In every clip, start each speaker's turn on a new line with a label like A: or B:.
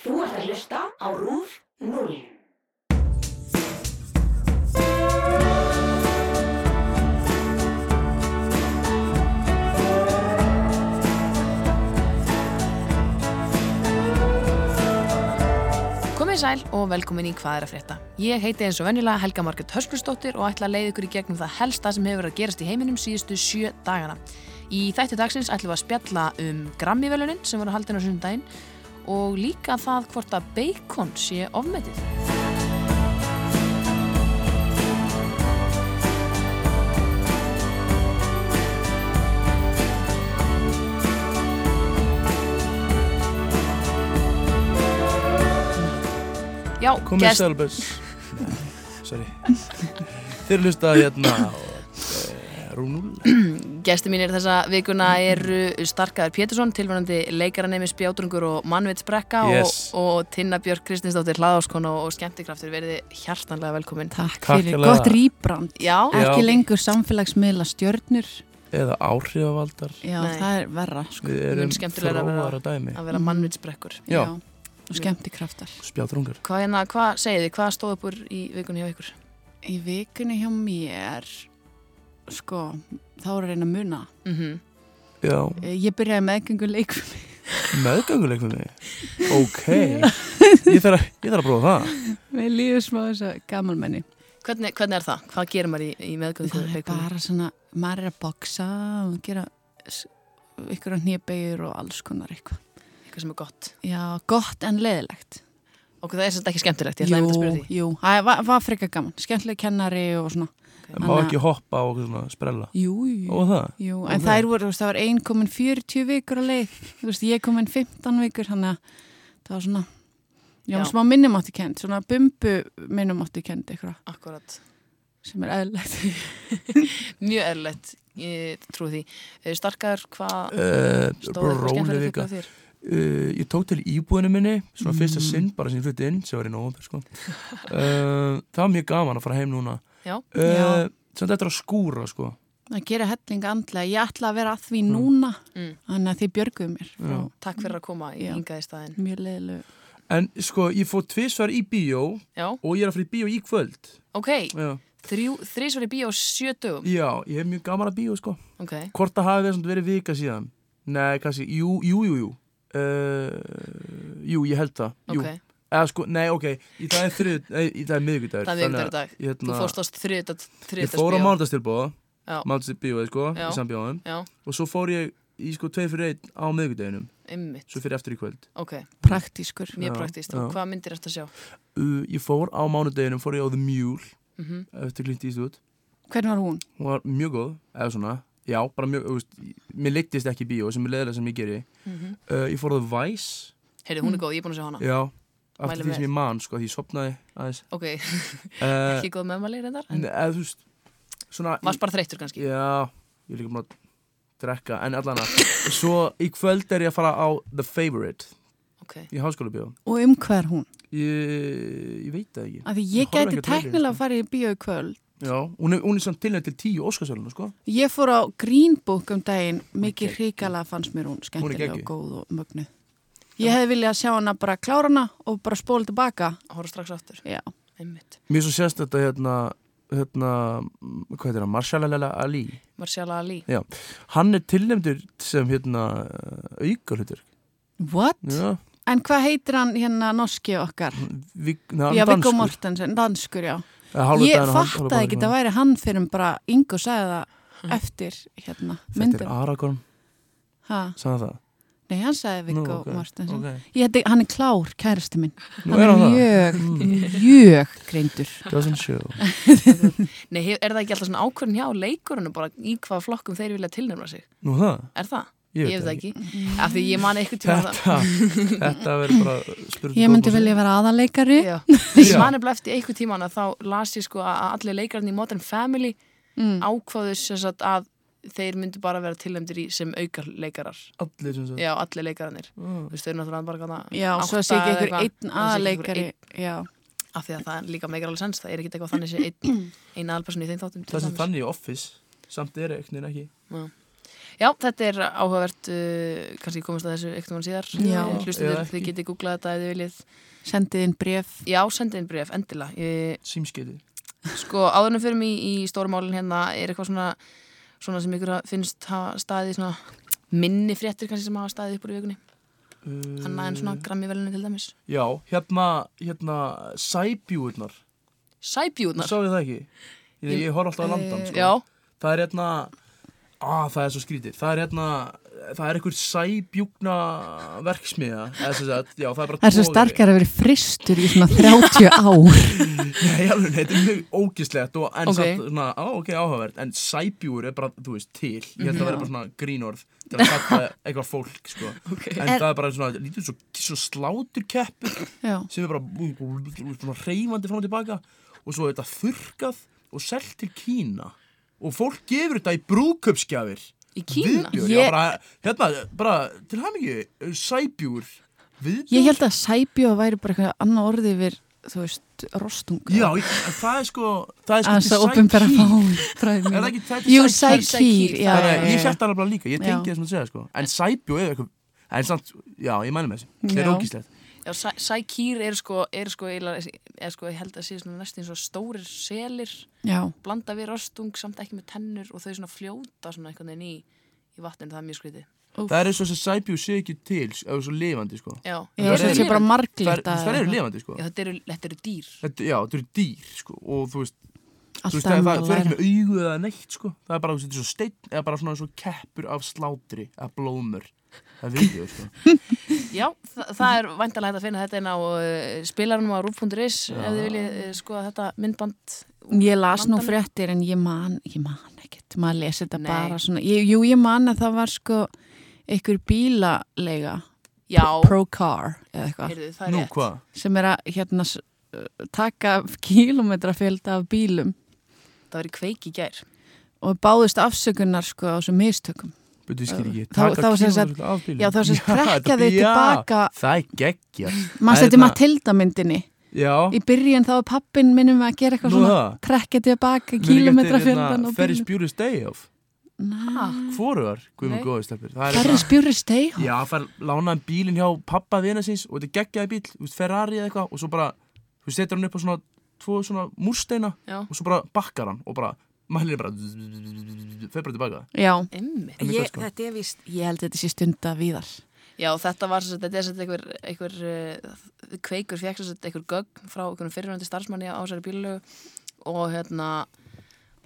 A: Þú ert að hlusta á RÚF 0.
B: Komið sæl og velkomin í Hvað er að frétta. Ég heiti eins og venjulega Helga Margrét Hörskursdóttir og ætla að leiða ykkur í gegnum það helsta sem hefur verið að gerast í heiminum síðustu sjö dagana. Í þætti dagsins ætlum við að spjalla um Grammy-velunin sem voru haldin á sundaginn og líka það hvort að bacon sé ofmetið. Já,
C: Komið
B: gest-
C: Selbus Sorry Þeir hlusta hérna eh, Rúnul
B: Gæsti mínir þessa vikuna eru Starkaður Pétursson, tilvonandi leikaranemi Spjátrungur og Mannvitsbrekka
C: Yes.
B: og, og Tinna Björk Kristinsdóttir Hlaðáskon og, og Skemmtikraftur verði hjartanlega velkomin.
D: Takk
C: Takk
D: fyrir,
C: hérlega.
D: gott rýbrand.
B: Já,
C: Já.
D: Ekki lengur samfélagsmiðla stjörnur.
C: Eða áhrifavaldar
D: Já,
B: Nei.
D: það er verra, sko.
C: Við
B: Mun
C: erum
B: skemmtilegra að vera-
C: þróar að dæmi
B: að vera Mannvitsbrekkur.
C: Já.
D: Og skemmti kraftar.
C: Spjátrungar
B: Hvað hérna, hvað segið þið, hvað stóð upp úr í vikunni hjá ykkur?
D: Í vikunni hjá mér, sko, þá er að reyna að muna.
B: Mm
C: Mhm. Já,
D: Eh, Ég byrjaði með engengu leikfum.
C: meðganguleiknunni Ok Ég þarf að, ég þarf að prófa það
D: Við lífum smá þess að gamalmenni.
B: hvernig, hvernig er það? Hvað gerir maður í, í meðgöngu?
D: Það er bara svona, maður er að boksa og gera s- ykkur á hnýbegjur og alls konar eitthvað.
B: Eitthvað sem er gott.
D: Já, gott en leðilegt.
B: Okkur það er svolítið ekki skemmtilegt, ég ætla einmitt að spyrja því.
D: jú, það var, var frekar gaman. Skemmtileg kennari og svona.
C: Má ekki hoppa á okkur svona sprella
D: Jú, jú.
C: Og það
D: Jú, en
C: Ok.
D: þær voru, þú veist, það var ein komin 40 vikur á leið, þú veist, ég komin 15 vikur, þannig að það var svona, já,
B: Já.
D: smá minnumátti kend, svona bumbu minnumátti kend eitthvað
B: Akkurat.
D: sem er eðlilegt.
B: Mjög erlegt, ég trú því. Eh, Starkaður, hvað
C: Uh,
B: stóð upp úr skemmtilegt
C: Róleika
B: hjá þér?
C: uh, ég tók til íbúinu minni svona fyrsta
B: Mm.
C: sinn bara sem ég flutti inn sem var í nóvambur sko. uh, það var mjög gaman að fara heim núna
B: Já.
C: uh, samt eftir að skúra sko.
D: Það gera hellinga andlega, ég ætla að vera að því núna,
B: Mm.
D: þannig að þið björguðu mér frá
C: Já.
B: Takk fyrir að koma í
D: Já.
B: hingaði staðin.
D: mjög leðilegu.
C: en sko ég fór tvisvar í bíó
B: Já,
C: og ég er að fara í bíó í kvöld
B: ok,
C: já,
B: Þrjú, þrísvar í bíó á sjö dögum.
C: já ég hef mjög gaman að bíó sko.
B: Ok,
C: hvort það hafi verið svona verið vika síðan nei kannski, jú, jú, jú, jú. Uh, jú, ég held það jú.
B: ok,
C: Eða, sko, nei, ok, í dag er þrið nei, í dag er miðvikudagur
B: það er
C: þannig
B: miðvikudagur í
C: að,
B: dag.
C: hérna,
B: Þú fórst ást þriðut að
C: ég
B: þriðut að
C: fór á mándagstilbóða
B: Já.
C: mándagstilbíóði sko,
B: Já.
C: í sambjóðum
B: Já,
C: og svo fór ég í sko 2 fyrir 1 á miðvikudeginum
B: ymmit,
C: svo fyrir eftir í kvöld
B: ok,
D: Praktískur.
B: mjög
C: Já,
B: praktíst.
C: já.
B: Og Hvað myndir eftir að sjá?
C: uh, ég fór á mánudeginum, fór ég á The Mule
B: Mm
C: eftir Clint Eastwood,
D: Hvernig var hún?
C: hún var mjög góð eða svona, já, bara mjög, þú veist mér leittist ekki í bíó sem er leðilega sem ég geri
D: Mhm.
C: uh, ég fór á The Vice
B: Heyrðu, hún er góð, ég er búin að sjá hana.
C: Mm. já,
B: Mælum
C: eftir því
B: með.
C: sem ég man sko, því ég sopnaði aðeins
B: Ok,
C: uh,
B: ekki góð meðmæli reyndar, en
C: en, eða þú veist svona,
B: varst bara þreyttur kannski.
C: já, ég er líka bara að drekka, en allan að svo í kvöld er ég að fara á The Favourite
B: Ok,
C: í háskóla bíó
D: Og um hver hún?
C: ég, ég veit það ekki
D: Af því ég
C: Ég horfi
D: gæti
C: ekki á trailer,
D: tæknilega
C: sko.
D: að fara í bíó í kvöld.
C: Já, hún er, hún er samt tilnætt til tíu Óskarsvölinu, sko.
D: Ég fór á Green Book um daginn,
C: Ok.
D: mikið okay. hrikalega fannst mér hún skemmtilega
C: geggjuð.
D: og góð og mögnuð. Ég hefði viljað sjá hana bara klára hana og bara spóla tilbaka.
B: horf strax aftur,
D: Já,
B: ymmit.
C: Mér er svo sérst þetta hérna, hérna, mm, hvað heitir það, Marshall Al Ali.
B: Marciala Ali,
C: Hann er tilnæmdur sem hérna aukalutur.
D: what?
C: Já,
D: En hvað heitir hann hérna norski okkar?
C: vi, na,
D: já, Viggo Mortensen, danskur, já.
C: Eh,
D: Ég fattaði ekki að það væri hann fyrir en bara Ingo sagði það eftir hérna
C: Þetta
D: myndin.
C: er Aragorn,
D: Ha,
C: sagði það.
D: nei, hann sagði Viggo
C: Nú, ok,
D: Mortensen.
C: Ok,
D: Ég, þetta- hann er klár, kærasti minn.
C: nú er hann það. Mm.
D: mjög, mjög greindur.
C: Doesn't show.
B: nei, hef- er það ekki alltaf svona ákvörðin hjá leikurinu bara í hvaða flokkum þeir vilja tilnefna sig?
C: Nú það,
B: Er það?
C: ég
B: ég veit
C: veit
B: það
C: ekki.
B: ekki. Af því ég man eitthvað tíma það.
C: Þetta, þetta verður bara spurning. um
D: Ég myndi vilja vera aðaleikari.
B: Já. Ég
C: Já.
B: man eftir eftir einhver tíman að þá las ég sko að að allir leikarinn í Modern Family
D: Mm.
B: ákváðu sem sagt að þeir myndu bara vera tilnæmdir í sem aukar leikarar.
C: Allir sem sagt. Ah.
B: Já, allir leikarinnir. Þú veist, þau eru náttúrulega bara gana
D: Já, svo sé ekki einhver einn aðaleikari Já,
B: Af því að það líka meikar alveg sens, það er ekki eitthvað
D: Mm.
B: þannig sem einn ein aðalperson í þeim þáttum. til
C: Það sem
B: dæmis.
C: þannig í Office, samt er ekkert ekki.
B: Já. Já, þetta er áhugavert, uh, kannski komast að þessu eitthvað mann síðar.
D: Já.
B: Hlustuður,
C: Eða
B: þið
C: ekki.
B: getið googlað þetta ef þið viljið.
D: Sendið inn bref
B: Já, sendið inn bréf, endilega. Ég,
C: símskeiti
B: sko, áðurnum fyrir mig í, í stórumálinn hérna er eitthvað svona, svona sem ykkur hafa- finnst hafa staðið í svona minni fréttir kannski sem hafa staðið upp úr í vikunni.
C: uh,
B: Hanna en svona grammivælunni til dæmis.
C: Já, hérna, hérna Sæbjúurnar,
B: Sæbjúðnar. Eh,
C: sá ég það ekki? Ég, ég horf alltaf að landa hann, sko
B: Já,
C: Það er hérna Ah, það er svo skrítið. Það er hérna, það er einhver sæbjúkna verksmiða. eða sem sagt, Já, það er bara
D: Það er svo hérna.
C: togari.
D: starkar að vera fristur í svona 30 ár
C: Nei, alveg, nei, þetta er mjög ógislegt og en
B: Ok.
C: samt, svona, á, ok, áhugavert en sæbjúr er bara, þú veist, til ég
B: Mhm.
C: held að það verði bara svona grínorð til að kalla eitthvað fólk, sko
B: ok.
C: en
D: Er-
C: það er bara svona, lítið svo, svo sláturkeppur
D: Já,
C: sem er bara bú- bú- bú- bú- svona reyfandi fram og tilbaka og svo er þetta þurrkað og selt til Kína og fólk gefur þetta í brúðköpsgjafir
B: Í Kína?
C: Viðbjör,
D: Ég-
C: já, bara, hérna, bara til hamingju, eh, sæbjúr Viðbjör?
D: ég held að sæbjó væri bara eitthvað annað orði yfir, þú veist, rostung
C: Já, ég- það er sko Það er sko
D: Aðeins að
C: design
D: opinbera
C: key.
D: fáum fræði
C: Er það
D: mín
C: ekki þetta
D: Jú,
C: sæbjúr?
D: sækýr, já,
C: Þannig
D: já,
C: að
D: já,
C: ég
D: já.
C: sett það alveg líka, ég tengi
D: Já.
C: það sem að segja sko En sæbjó er eitthvað, en samt, já, ég mæli með þessu Það er
D: Já.
C: ógíslegt
B: Já, sæ, sækýr er sko, er sko, eiginlega- er sko, ég held að sé svona næst eins og stórir selir
D: Já,
B: blanda við rostung samt ekki með tennur og þau svona fljóta svona einhvern veginn í, í vatninu, það er mjög skrítið.
C: Það er eins og þess að sæbjó sé ekki til, eða svo lifandi sko
B: Já,
D: ég
C: það
D: er svo
C: eru-
D: sé bara
C: Það
D: marglita
C: það eru lifandi sko
B: Já, þetta eru, þetta eru dýr.
C: Þetta- Já, þetta eru dýr sko og þú veist, þú veist það,
D: Alltaf um
C: það, það
D: að
C: er
D: læra
C: ekki með augu eða neitt sko Það er bara, þú veist, þetta er svo steinn eða bara svona svo keppur af slátri eða blómur Það veit ég sko
B: Já, það, það er vandalega hægt að finna þetta inn á uh, spilarunum á rúf.is ef þið viljið uh, skoða þetta myndband.
D: Ég las nú
B: Vandalag.
D: fréttir en ég man, ég man ekkert, maður lesi þetta
B: Nei.
D: bara svona, ég, jú ég man að það var sko einhver bílalega,
B: Já,
D: pro-car eða eitthvað,
B: heyrðu, það er
C: Nú,
B: rétt.
C: hvað?
D: sem er að hérna s- uh, taka kílometrafjölda af bílum
B: Það verið kveik í gær.
D: og báðust afsökunar sko á þessum mistökum.
C: Bötu, skil ekki,
D: Þá- þá var sem sagt-
C: kílómetra af bílum.
D: já, þá var sem sagt
C: Já,
D: krakka
C: þetta-
D: þau
C: já,
D: tilbaka-
C: Það er geggjað
D: Maður
C: Það
D: setið
C: er
D: Matilda myndinni,
C: Já
D: í byrjun þá er pappin minnum að gera eitthvað
C: Nú
D: svona,
C: það.
D: trekkja tilbaka kílometrafjöldan á
C: hérna, Ferris
D: bílum.
C: Bueller's Day Off Hvorugar, guðmur
B: Nei.
C: góði stelpur Það er
D: Ferris
C: hérna-
D: Bueller's Day Off?
C: Já, fær lánaðan bílinn hjá pappa vina síns og þetta er geggjaði bíl, þú veist, Ferrari eða eitthvað og svo bara, þú veist, setur hann upp á svona tvo svona múrsteina
B: Já.
C: og svo bara bakkar hann og bara, mælinn er bara fer bara tilbaka
D: Já,
B: Einmitt.
C: Einmitt,
D: ég,
C: sko.
D: þetta er víst, ég held að þetta sé stunda víðar.
B: Já, þetta var svo, þetta er svo einhver, einhver uh, kveikur fekk svo einhver gögn frá einhvern fyrirvændi starfsmanni á þessari bílulegu og hérna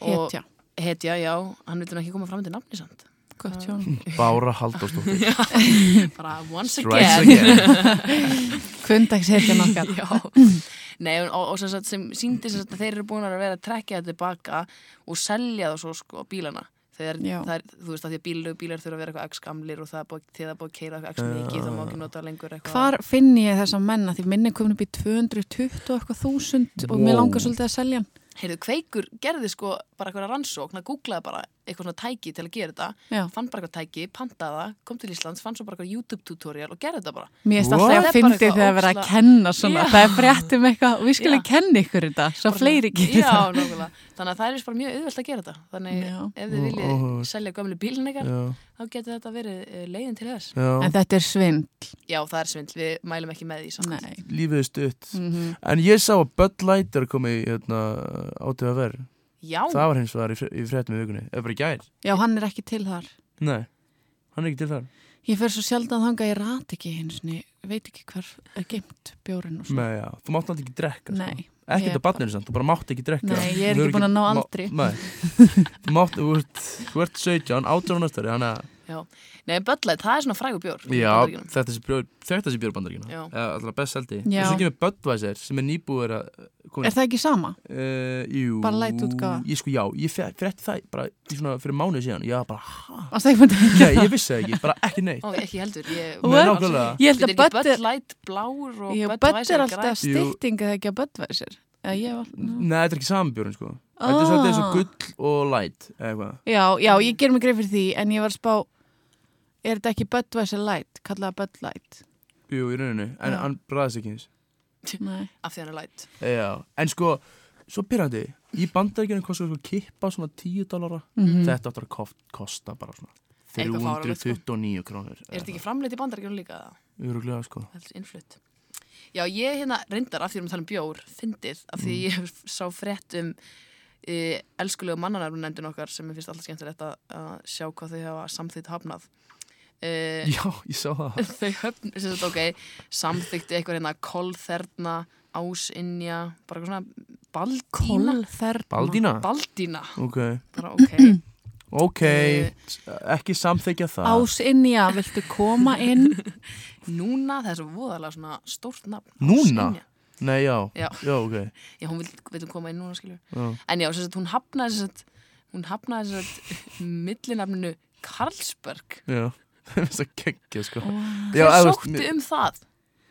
B: og-
D: Hetja.
B: Hetja, já, hann vildi nú ekki koma fram til nafni samt
D: Gott hjón.
C: Bára Halldórsdóttir
B: bara once
C: Strikes
B: again,
C: again.
D: Kvöndags hetjan okkar.
B: Já, nei og, og sem, sagt, sem síndi sem sagt, að þeir eru búin að vera að trekja þetta tilbaka og selja það svo sko bílana þegar
D: Já.
B: það er, þú veist að því að bílulegu bílar þurfa að vera eitthvað x gamlir og það er búið, þegar það er búið að keira eitthvað x mikið þá má ekki nota lengur eitthvað
D: Hvar finn ég þess að menna? Því minni komin upp í 220 og eitthvað þúsund og mér
C: Wow.
D: langar svolítið að selja hann.
B: Heyrðu, Kveikur gerði sko bara eitthvað rannsókn að googlaði bara eitthvað svona tæki til að gera þetta,
D: Já.
B: fann bara eitthvað tæki, pantaði það, kom til Íslands, fann svo bara eitthvað YouTube-tutorial og gerði þetta bara.
D: Mér erst
C: What?
B: Það
D: alltaf að
B: er bara
D: fyndi
B: eitthvað
D: þegar verið að
B: ógeðslega-
D: kenna svona.
B: Já.
D: Það er fréttum eitthvað og við skulum
B: Já.
D: kenna ykkur þetta svo
B: Bara
D: fleiri
B: svona-
D: gerir það.
B: Já, nákvæmlega. Þannig að það er víst bara mjög auðvelt að gera þetta. Þannig
D: Já.
B: ef þið viljið
C: Óhugavert.
B: selja gömlu bílinn ykkar,
C: Já,
B: þá getur þetta verið eh, leiðin til þess.
C: já,
D: En þetta er svindl.
B: Já, það er svindl, við mælum ekki með því samt.
D: Nei.
C: lífið er stutt
D: Mm
C: En ég sá að Bud Light er komið í hérna, átöfaver
B: Já,
C: Það var hins vegar í, fr- í fréttum í vikunni Eða bara í gær
D: Já, hann er ekki til þar.
C: Nei, hann er ekki til þar
D: Ég fer svo sjaldan þangað, ég rat ekki hins, veit ekki hver er geimt bjórin og svona.
C: Nei, já, þú mátt náttúrulega ekki drekka sko.
D: Nei.
C: Ekki
D: Ég
C: þetta barninu samt, þú bara mátt ekki drekka
D: Nei, ég er
C: Þú hefur
D: ekki búin að ná aldri.
C: má- Nei, þú mátt, þú ert, þú ert 17, 18 á næstari Þannig að,
B: nei, Böllæt, það er svona frægur bjór. í
C: já,
B: Bandaríkjunum.
C: þetta sé bjór, þetta sé bjórbandaríkina
B: Já.
C: Alltaf best seldi
D: Já.
C: Og svo kemur Budweiser sem er nýbúið að
D: Er
C: koma
D: það ekki sama?
C: Uh, jú,
D: Bara light útgáfa?
C: Ég sko, já, ég frétti það bara í svona fyrir mánuð síðan Já, bara, hæ?
D: Á stækmyndu?
C: Nei, ég vissi það ekki, bara ekki neitt
B: Ó, ekki heldur. Ég,
C: Nei, nákvæmlega.
D: Ég held
B: Bíddu, er
D: að
B: ekki
D: Bud er-
B: Bud Light blár og
D: Já,
B: Bud
D: bött
B: Weiser
D: er
B: grænn?
D: alltaf
C: Jú.
D: stytting eða ekki að böttvæsir. Mm.
C: Nei, þetta er ekki sami bjórinn sko Þetta er svolítið eins
D: Ah.
C: og gull og light eða eitthvað
D: Já, já, ég ger mig greið fyrir því en ég var að spá, er þetta ekki böttvæsir light, kallaða bött light?
C: Jú, í rauninni, en
D: Já.
C: hann bræðist ekki eins
D: Nei.
B: Af því hann er light.
C: Já, en sko, svo pyrrandi
D: Mhm.
C: Í bandaríkjunum kostar sko kippa svona 10 dólara Þetta áttur að kof- kosta bara svona
B: Eitthvað fáránlegt, sko.
C: 329 krónur
B: Er þetta ekki framleitt í bandaríkjunum líka? eða?
C: Öruglega sko
B: Það er þessi innflutt. Já, ég hérna reyndar af því við erum að tala um bjór, fyndið, af því
C: Mm.
B: ég sá frétt um e, elskulegu mannanarum nefndin okkar sem ég finnst alltaf skemmtilegt að, að sjá hvað þau hafa samþýtt hafnað. E,
C: Já, ég sá það
B: þau höfn, sem sagt, ok, samþýtti eitthvað hérna kolþerna, ásinja, bara eitthvað svona baldína.
D: Kolþerna.
C: Baldína?
B: Baldína,
C: Ok,
B: bara ok.
C: ok,
B: Eh,
C: S- ekki samþykja það
D: Ásinja, viltu koma inn?
B: Núna, það er svo voðalega svona stórt nafn.
C: Núna?
B: Ásynja.
C: Nei, já,
B: Já.
C: ok
B: Já, hún vil- vill koma inn núna, skilju.
C: Já.
B: En já, sem sagt, hún hafnaði sem sagt, hún hafnaði sem sagt millinafninu Karlsberg.
C: Já, þess að geggja sko Já,
B: Hver
C: eða þú veist,
B: sótti
C: mér-
B: um það?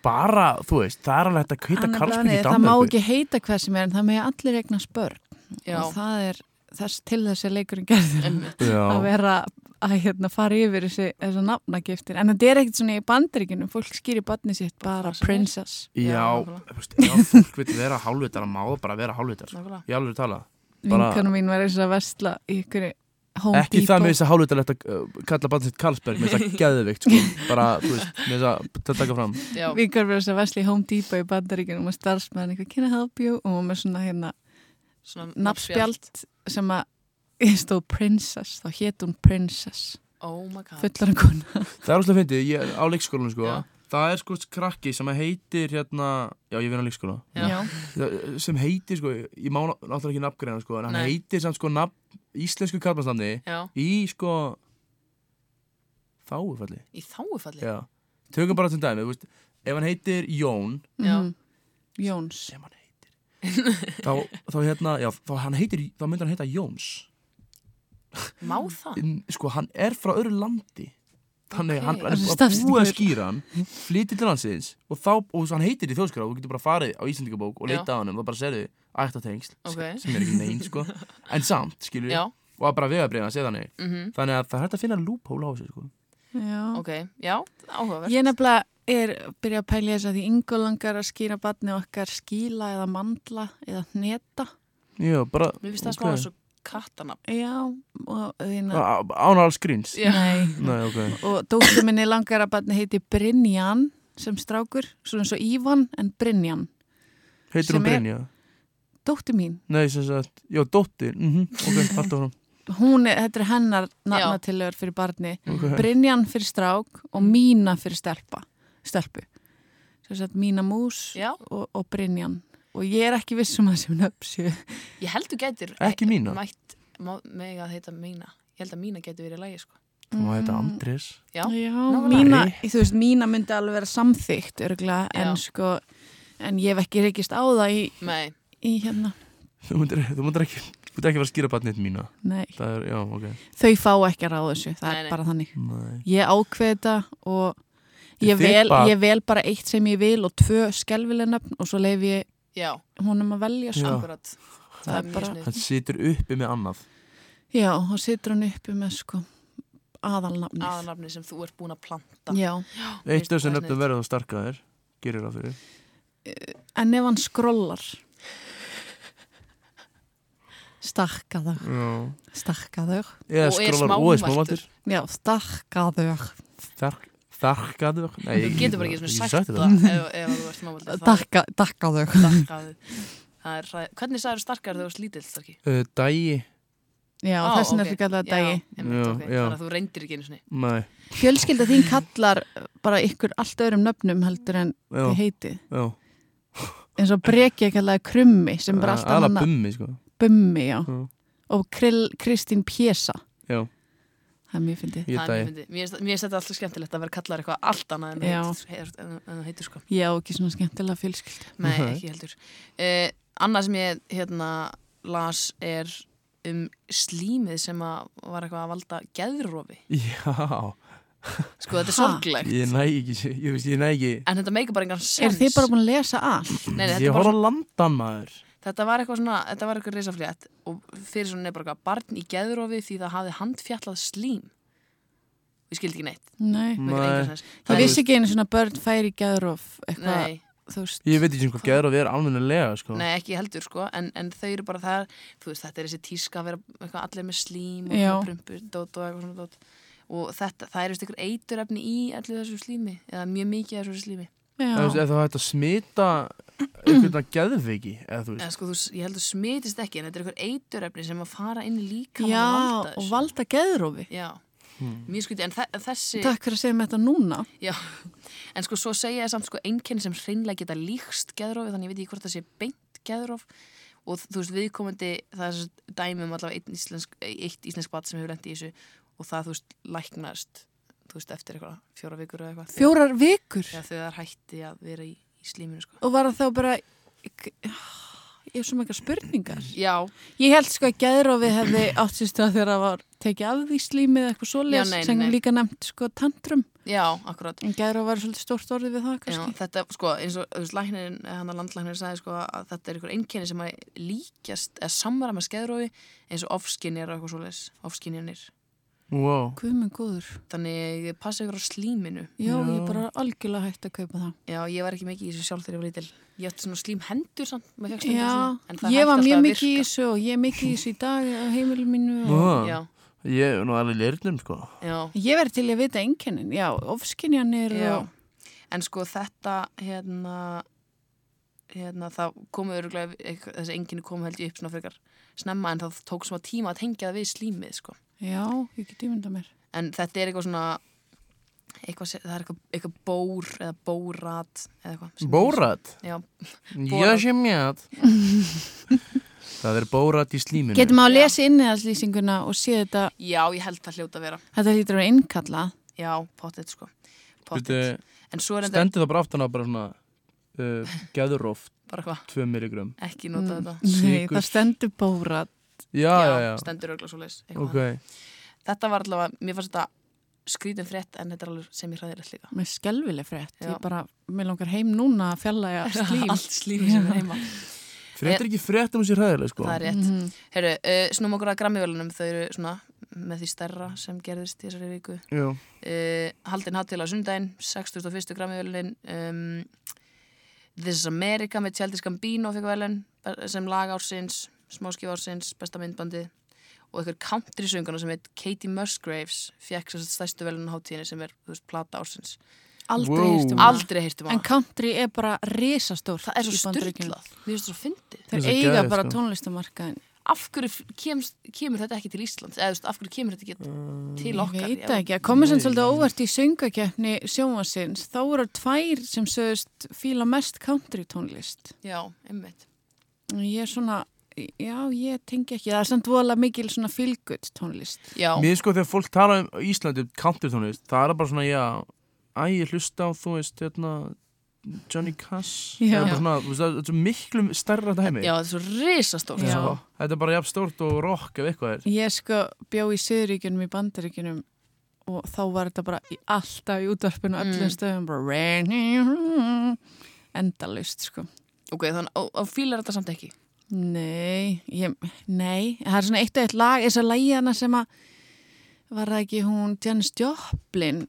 C: Bara, þú veist, það er alveg hægt að kvita
D: Hann er bara
C: Karlsberg í
D: þannig, Það má
C: Danmörku
D: ekki heita hvað sem er en það með allir eigna spörn
B: Já,
D: og það er þess, til þessi leikurinn gerður
B: einmitt.
D: að
C: Já,
D: vera að hérna, fara yfir þessi, þessi nafnagiftir en þetta er ekkert svona í bandaríkjunum fólk skýri barni sitt bara
B: Það sem er.
D: princess
C: já,
B: Já, nákvæmlega.
C: þú veist, já, fólk vil vera hálfvitar að má það bara vera hálfvitar sko.
B: nákvæmlega.
C: Ég alveg tala Bara-
D: vinkonu mín var eins og að vestla í ykkur Home
C: Ekki það með
D: Depot
C: þess að hálfvitarlegt að uh, kalla bann sitt Karlsberg með það geðvikt sko Bara, þú veist, með þess að til að taka fram
B: Já,
D: vinkonu var eins og að vestla í Home Depot í bandaríkjunum og starfsmæðan eitthvað can I help you og hún var með svona hérna
B: svona
D: nafnspjald sem að ég stóð princess, þá hét hún princess
B: Oh my god.
D: fullar að kona
C: Það er óslega fyndið, ég á leikskólanum sko
B: Já.
C: Það er sko krakki sem heitir hérna Já, ég vinn á leikskóla
B: Já.
C: Það- sem heitir sko, ég má ná- náttúrulega ekki nafngreina sko, en hann
B: Nei.
C: heitir samt sko nafn, íslensku karlmannsnafni
B: Já,
C: í sko þáufalli
B: í þáufalli.
C: Já. tökum bara til dæmi, þú veist ef hann heitir Jón
B: Já.
D: Mhm. Jóns
C: sem hann heitir þá, þá hérna, já, þá hann heitir þá myndir hann heita Jóns
B: Má það?
C: en, sko, hann er frá öðru landi þannig
B: Ok.
C: hann, hann
D: Þessi
C: er bara búið að
D: stafsetningur.
C: skýra hann flytið til landsins og þá, og svo hann heitir í þjóðskrá og þú getur bara farið á Íslandingabók og
B: Já.
C: leita á hann og bara serðu ættatengsl
B: Ok.
C: okay. sem er ekki neins sko en samt, skilur
B: Já,
C: og að bara vegabriða að segja þannig
B: mm
C: þannig að það er hægt að finna lúphóla á þessu sko
D: Já.
B: ok. Já, áhugavert.
D: Ég nefnilega er að byrja að pælja þess að því yngur langar að skýra batni okkar skíla eða mandla eða hneta.
C: já, bara
B: Mér finnst það smá eins og kattanafn.
D: Já, og þína...
C: ánar alls gríns
B: Já.
D: Nei.
C: nei, ok
D: Og dóttur minni langar að batni heiti Brynjan sem strákur, svona eins og Ívan en Brynjan. Sem
C: heitir hún
D: er-
C: Brynja?
D: Dóttur mín,
C: nei, sem sagt, já, dóttir mm ok, haldt á hann
D: hún er, þetta er hennar nafnatilögur fyrir barni. Brynjan fyrir strák og Mína fyrir stelpa, stelpu. Svo sett Mína Mús
B: Já.
D: og, og Brynjan. Og ég er ekki viss um að sem nöpsu.
B: Ég held þú gætir
C: Ekki mína.
B: mætt má- mega að heita mína. Ég held að mína gæti verið í lagi, sko.
C: og þetta Andris
B: Já,
D: Já,
B: nákvæmlega.
D: mína, þú veist, mína myndi alveg vera samþygt örgulega,
B: Já.
D: en sko en ég hef ekki reykist á það í,
B: Nei,
D: í hérna,
C: þú myndir, þú myndir ekki þú myndir ekki vera að skýra batnið mína
D: nei
C: það er, já, ok
D: þau fá ekki að ráða þessu, það
B: Nei,
D: er
B: nei.
D: bara þannig
C: nei.
D: ég ákveð þetta og
C: Þið
D: ég vel,
C: bara-
D: ég vel bara eitt sem ég vil og tvö skelvileg nöfn og svo leif ég
B: já,
D: honum að velja
C: Já.
D: svo.
B: akkurat. Það, er mjög
D: bara-
B: snið.
C: hann situr uppi með annað
D: Já, og situr hann uppi með sko aðalnafnið.
B: Aðanafni sem þú ert búin að planta.
D: Já,
B: það
C: eitt af þessum
B: er
C: nöfnum
B: sniðugt.
C: verður þá starkaðir gerir það fyrir
D: en ef hann skrollar stakka þau,
C: já.
D: stakka þau
C: eða
B: Og er
C: skrólar og er
B: smámæltur.
C: smávaltur
D: já, stakka þau
C: þarkaður nei,
B: Þú
C: ég-
B: getur bara
C: ég-
B: ekki svona
C: ég
B: sagt
C: sagði
B: það ef, ef þú ert smávaldur. Það
D: Dakka, dakka þau
B: er starkaðu. Það er ræð. Hvernig sagður starkar þegar þú ert lítill, Starki?
C: Uh, dæi,
D: Já,
B: Á,
D: þessin er
B: ok.
D: þau kallað dagi
B: Já, einmitt,
C: Já,
B: ok.
C: já.
B: Þannig að þú reyndir ekki einu sinni.
C: nei,
D: Fjölskylda þín kallar bara ykkur allt öðrum nöfnum heldur en
C: já,
D: þið heitið
C: já
D: eins og breki kallaði krummi sem bara alltaf
C: Aðallega
D: hann að
C: bummi, sko
D: bummi já.
C: Eh, Já.
D: og krill, Kristín Pésa
C: Já,
D: það er mjög
C: ég
D: fyndið
B: Það er mjög
C: dæi
B: fyndið. Mér finnst- mér finnst þetta alltaf skemmtilegt að vera kallar eitthvað allt annað en
D: Já.
B: þú heitir- en- en þú heitir sko.
D: Já, ekki svona skemmtilega fjölskylda
B: Nei,
C: Nei.
B: ekki heldur. Uh, annað sem ég hérna las er um slímið sem að var eitthvað að valda geðrófi.
C: Já,
B: Sko, þetta er
D: Ha?
B: sorglegt.
C: ég næ ekki, ég veist, ég næ ekki
B: En þetta meikar bara engan sens.
D: Er þið bara búin að lesa allt?
B: Nei, nei, þetta er
C: Ég
B: bara
C: horf að landa maður
B: Þetta var eitthvað svona, þetta var eitthvað risaflétt og fyrir svona nefnir bara eitthvað barn í geðrofi því það hafði handfjallað slím. Við skildi ekki neitt. Mér
D: Nei,
C: Mm. Nei.
B: er engan sens.
D: það
B: Nei.
D: vissi ekki einu svona börn færi gæðrof eitthvað,
B: Nei,
D: þú veist
C: Ég veit ekki um hvað geður að vera almennilega, sko
B: nei, ekki heldur sko, en, en þau eru bara það, þú veist, þetta er þessi tíska að vera eitthvað allir með slím og
D: Já.
B: svona prumpudót og eitthvað svona dót. og þetta, það er veist ykkur eiturefni í allir þessu slími eða mjög mikið af þessu slími
C: Eða, þú veist,
D: já,
C: eða það hægt að smita einhvern geðviki, eða þú
B: en
C: veist.
B: sko þú, s- ég held að smitist ekki en þetta er ykkur eiturefni sem að fara inn í líka
D: já
B: valda
D: og
B: þessu
D: valda geðrófi
B: já, mjög skuti en þe- þessi
D: Takk fyrir að segja mér þetta núna
B: Já, en sko svo segja ég samt sko einkenn sem hreinlega geta líkst geðrófi þannig ég veit ekki hvort það sé beint geðróf og þú veist viðkomandi það er svo dæmi um allavega einn íslensk, eitt íslensk bat sem hefur lendi í þessu og það þú veist læknast þú veist eftir eitthvað fjóra vikur eða eitthvað
D: Fjórar vikur
B: þegar þau er hætti að vera í, í slíminu sko
D: og var það þá bara ég ég hef svo mega spurningar
B: Já,
D: Ég held sko að geðrófi hefði átt sér stað þegar það var tekið af því slímið eða eitthvað
B: Já,
D: svoleiðis
B: nei, nei,
D: sem
B: nei.
D: líka nefnt sko tantrum
B: já, akkurat
D: en geðrófi var svolítið stórt orðið við það
B: Já,
D: kannski
B: þetta, sko, eins og, þú veist, læknirinn, hann að landlæknirinn sagði, sko, að þetta er einhver einkenni sem að líkjast, eða samvara með skeðrófi eins og ofskinjar og eitthvað svoleiðis, ofskinjanir.
C: Wow.
D: Guð minn góður
B: Þannig passa ykkur á slíminu.
D: Já,
C: Já.
D: ég er bara algjörlega hægt að kaupa það
B: Já, ég var ekki mikið í þessu sjálf þegar ég var lítil. Ég ætti svona slím hendur samt, maður fekk stundum
D: Já,
B: svona, en það
D: ég
B: hætti
D: var
B: alltaf
D: mjög
B: að
D: mikið í
B: virka.
D: þessu og ég er mikið í þessu í dag á heimilum mínu og...
C: Wow.
B: Já,
C: Ég er nú alveg lirnum, sko.
B: já,
D: Ég verði til í að vita einkennin, já, ofskinjanir og...
B: já. En sko þetta, hérna, hérna, það komu öruglega, þessi enginni komu held ég upp svona frekar snemma en það tók svona tíma að tengja það við slímið, sko.
D: Já, ég get ímynda mér
B: En þetta er eitthvað svona, eitthvað, se- það er eitthvað, eitthvað bór eða bórat eða eitthvað. sem-
C: Bórat?
B: Já,
C: Já,
B: Borat.
C: sé mjög. það er bórat í slíminu.
D: Getum að lesa inniðarslýsinguna og sé þetta,
B: já, ég held það hljóta að vera.
D: þetta lítur að innkalla
B: Já, pottet, sko. Pottet.
C: Bíddu,
B: En svo er þetta
C: Stendur það bara aftan á bara svona uh, geðurof,
B: bara hvað,
C: 2 milligram.
B: ekki nota þetta
D: Nei,
C: Sykur.
D: það stendur bórat
C: Mm. Já, já, já.
B: stendur örgla svo leis
C: Ok.
B: þetta var allavega, mér fannst þetta skrítum frétt en þetta er alveg sem ég hræðir allt líka
D: með skelvileg frétt,
B: Já.
D: ég bara mér langar heim núna að fjalla ég slím
B: allt slím sem er heima
C: Frétt er ekki frétt um sér hæðileg, sko.
B: það er rétt, mm. herru, uh, snúm okkur að grammivölunum þau eru svona með því stærra sem gerðist í þessari viku
C: Já.
B: uh, haldin hátil á sundaginn 61. grammivölin um, This is America með Childish Gambino fekk velun sem lag ársins, smáskif ársins besta myndbandi og einhver country sönguna sem heit Katie Musgraves fekk svo stærstu velun hátíðinni sem er, þú veist, plata ársins
D: aldrei
C: Wow.
D: wow. hýrstum
B: Aldrei um heyrtum
D: en
B: að
D: country er bara risastór
B: Það er svo styrklað Mér finnst það svo fyndið
D: þeir
C: Það er svo
D: eiga
C: geðveikt,
D: bara
C: sko.
D: tónlistamarkaðin
B: Af hverju f- kemst, kemur þetta ekki til Íslands Eða þú veist, af hverju kemur þetta ekki til
D: Mm, ég
B: okkar
D: veit
B: Já.
D: það ekki, að komið sem svolítið á óvart í söngakeppni sjónvarsins þá voru tvær sem sögust fíla mest country tónlist
B: Já, einmitt
D: og ég er svona, já ég tengi ekki það er samt vola mikil svona feel good tónlist
B: Já,
C: Mér sko þegar fólk tala um Íslandi um countrytónlist, það er bara svona já, æ, ég hlusta á þú veist hérna, Johnny Cass Það
D: Já.
C: er bara svona, þú veist, það er svo miklu stærra dæmi
B: já, þetta er svo risastórt
D: Já.
B: sko.
C: Þetta er bara jafn stórt og rock ef eitthvað er
D: Ég sko bjó í Suðuríkjunum í Bandaríkjunum og þá var þetta bara í alltaf í útvarpinu öllum stöðum bara endalaust sko.
B: Ok, þannig, og, og fílar þetta samt ekki
D: Nei, ég, nei, það er svona eitt og eitt lag, þess að lagi hana sem að var það ekki hún Janis Joplin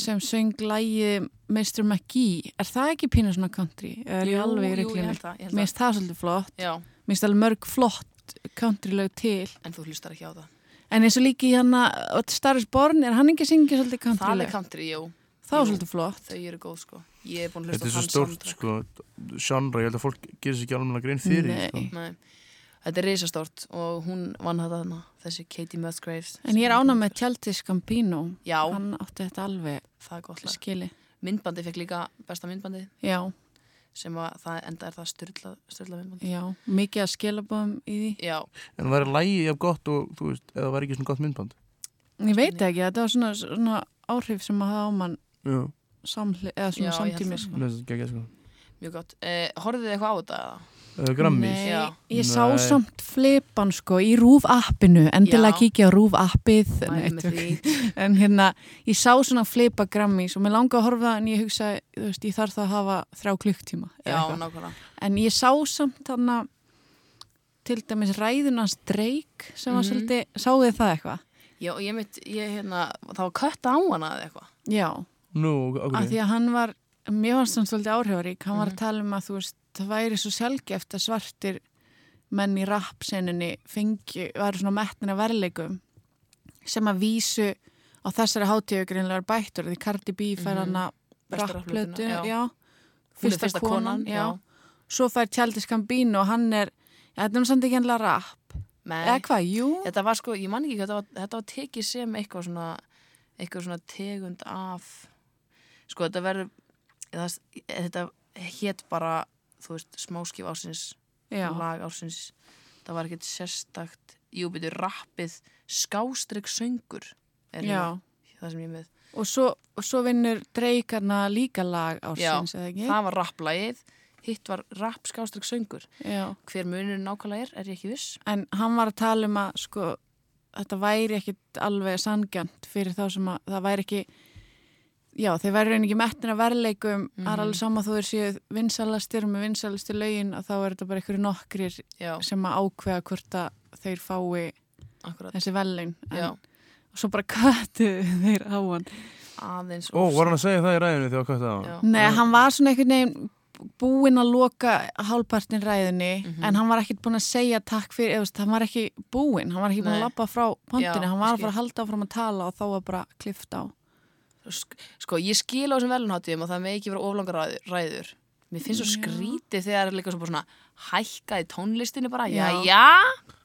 D: sem söng lagi Mr. McGee, er það ekki pínu svona country? Eða Er
B: Jú,
D: ég alveg í
B: jú, ég
D: reglunum?
B: held það, ég held
D: Mér finnst það svolítið flott,
B: Já,
D: mér finnst alveg mörg flott country lög til
B: en þú hlustar ekki á það
D: En eins og líki hérna Starris Born, er hann ekki að syngja svolítið
B: Það
D: country?
B: er country, jú
D: Það
B: jú.
D: er svolítið flott.
B: Þau eru góð, sko Ég er búin að
C: Þetta
B: hlusta á
C: er svo stórt
B: soundtrack.
C: sko, genre, ég held að fólk gerir sér ekki alveg grein fyrir því, sko.
D: Nei.
B: Nei. Þetta er risastórt og hún vann þetta þarna Þessi Katie Musgraves
D: En ég er ánað með Tjaldi Scambino.
B: Já,
D: Hann átti þetta alveg
B: það er gott lag
D: skili.
B: Myndbandi fekk líka besta myndbandi
D: Já,
B: sem að það enda er það styrla, styrla myndbandi
D: já. Mikið að skilabóðum í því.
B: Já,
C: En væri lægi jafn gott og þú veist, eða væri ekki svona gott myndband
D: Ég veit ekki, þetta var svona, svona áhrif sem að hafa á mann
C: Já,
D: samhli, eða
B: Já,
D: svona
B: ég held
D: samtímis.
B: það.
C: næst ekki ekki sko
B: mjög gott eh, Horfið þið eitthvað á þetta? eða?
C: uh, Grammis
D: Nei,
B: Já.
D: ég sá
C: Nei.
D: samt flipan sko í rúf appinu, endilega
B: Já.
D: kíkja á rúf appið
B: Mæli með því.
D: en hérna, ég sá svona flipa grammís og mér langaði að horfa en ég hugsa, þú veist, ég þarf það að hafa þrjá klukktíma eða
B: Já,
D: eitthvað.
B: nákvæmlega
D: en ég sá samt þarna til dæmis ræðunans dreik sem var svolítið, sáðu þið það eitthvað?
B: Já, og ég mitt, ég hérna, það var kötta á hana eða eitthvað
D: Já,
C: Nú, ok,
D: af því að hann var mér varst hann svolítið áhrifarík hann var
B: Mhm.
D: að tala um að þú veist, það væri svo sjálfgeft að svartir menn í rappsenninni fengi, væri svona metnina verleikum sem að vísu á á þessari hátíðu greinlega bættur því Cardi B fær
B: Mhm.
D: hann að
B: Besta
D: rapplötu,
B: rapplötuna, já. Hún
D: já.
B: er fyrsta konan, já.
D: Svo fær Tjaldis Gambino og hann er, ja, þetta er nú samt ekki ennilega rapp. Eða
B: Nei,
D: hvað, jú?
B: þetta var sko, ég man ekki hvað þetta var, þetta var tekið sem eitthvað svona, eitthvað svona tegund af, sko þetta verður, eða það- þetta hétt bara, þú veist, smáskif ásins,
D: Já,
B: lag ásins, það var ekkert sérstakt, jú, byrju, rappið, skástrygg söngur, er
D: já.
B: hérna það sem ég er með.
D: Og svo, og svo vinnur dreikarna líka lag ársins, eða ekki?
B: Það var rapplægið, hitt var rapp skástrygg söngur.
D: Já.
B: Hver munur nákvæmlega er, er ég ekki viss.
D: En hann var að tala um að sko, þetta væri ekkit alveg sangjant fyrir þá sem að það væri ekki já, þeir væri reyni ekki mettin að verðleikum mm
B: Mhm.
D: er alveg sama þó þeir séu vinsalastir með vinsalastir lögin að þá er þetta bara einhverju nokkrir
B: Já,
D: sem að ákveða hvort að þeir fái
B: akkurat.
D: þessi verðlein
B: Já.
D: og svo bara köttu þeir á hann
B: aðeins
C: Ó, var hann að segja það í ræðinu þegar hvað það var?
B: Já.
D: Nei, hann var svona einhvern veginn búinn að loka hálpartin ræðinni
B: Mhm.
D: en hann var ekkert búinn að segja takk fyrir, eða, þú veist, hann var ekki búinn hann var ekki búinn
B: Nei.
D: að lappa frá pontinu
B: Já,
D: hann var
B: ég
D: að fara að halda áfram að tala og þá var bara klift á
B: Sk- sko, ég skil á þessum velunháttíðum að það með ekki vera oflangar ræður, ræður. mér finnst svo skrítið þegar það er líka svo bara svona hækkað í tónlistinu bara, já,
D: Já.
B: já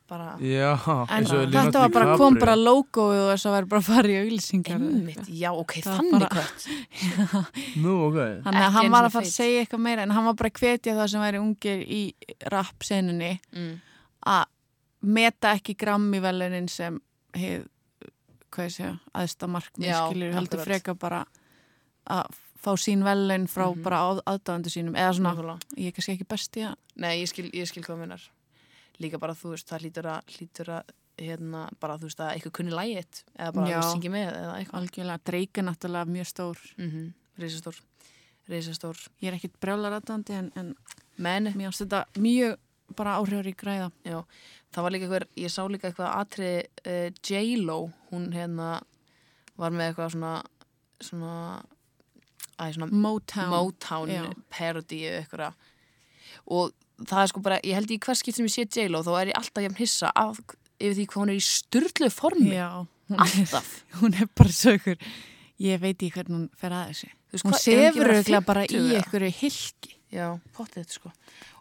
B: bara,
C: Já,
D: en
C: eins og Leonardo
D: þetta var bara, kom
C: DiCaprio.
D: bara logoið og þess að vera bara að fara í auglýsingar
B: einmitt, já, ok,
D: Það
B: þannig
D: bara-
B: kött
C: Nú, ok.
D: þannig að
B: Ekki
D: hann
B: einu
D: var að
B: sinni
D: fara að
B: feit.
D: segja eitthvað meira en hann var bara að hvetja það sem væri ungir í rap-senunni
B: mm.
D: að meta ekki grammívelunin sem hef, hvað ég segja, aðsta markmið
B: Já,
D: skilur, heldur
B: akkurat.
D: freka bara að fá sín velun frá bara á, aðdáðandi sínum, eða svona
B: Mhm. nákvæmlega.
D: ég er kannski ekki besti að
B: nei, ég skil, ég skil hvað minnar líka bara, þú veist, það hlýtur að hlýtur að, hérna, bara, þú veist, að eitthvað kunni lægitt, eða bara
D: Já.
B: að syngja með eða eitthvað,
D: algjörlega dreika náttúrulega mjög stór
B: mm -hmm. reisastór reisastór,
D: ég er ekkit brjálar aðdáðandi en, en
B: menn
D: mér ást þetta mjög bara áhrifur í græða
B: Já, það var líka eitthvað, ég sá líka eitthvað atriði uh, J-Lo, hún hérna var með eitthvað svona, svona, æ, svona
D: Motown,
B: Motown
D: Já.
B: parodíu eitthvað og það er sko bara, ég held í hvers skipt sem ég sé J-Lo þá er ég alltaf jafn hissa af, yfir því hvað hún er í styrlu formi.
D: Já, hún er,
B: Alltaf.
D: hún er bara sögur ég veit í hvernig hún fer að þessu
B: Þú veist,
D: hún
B: hvað, er ekki
D: sefur
B: bara
D: auðvitað bara í
B: 50 eða?
D: einhverju hilki
B: Já, pottið þetta sko.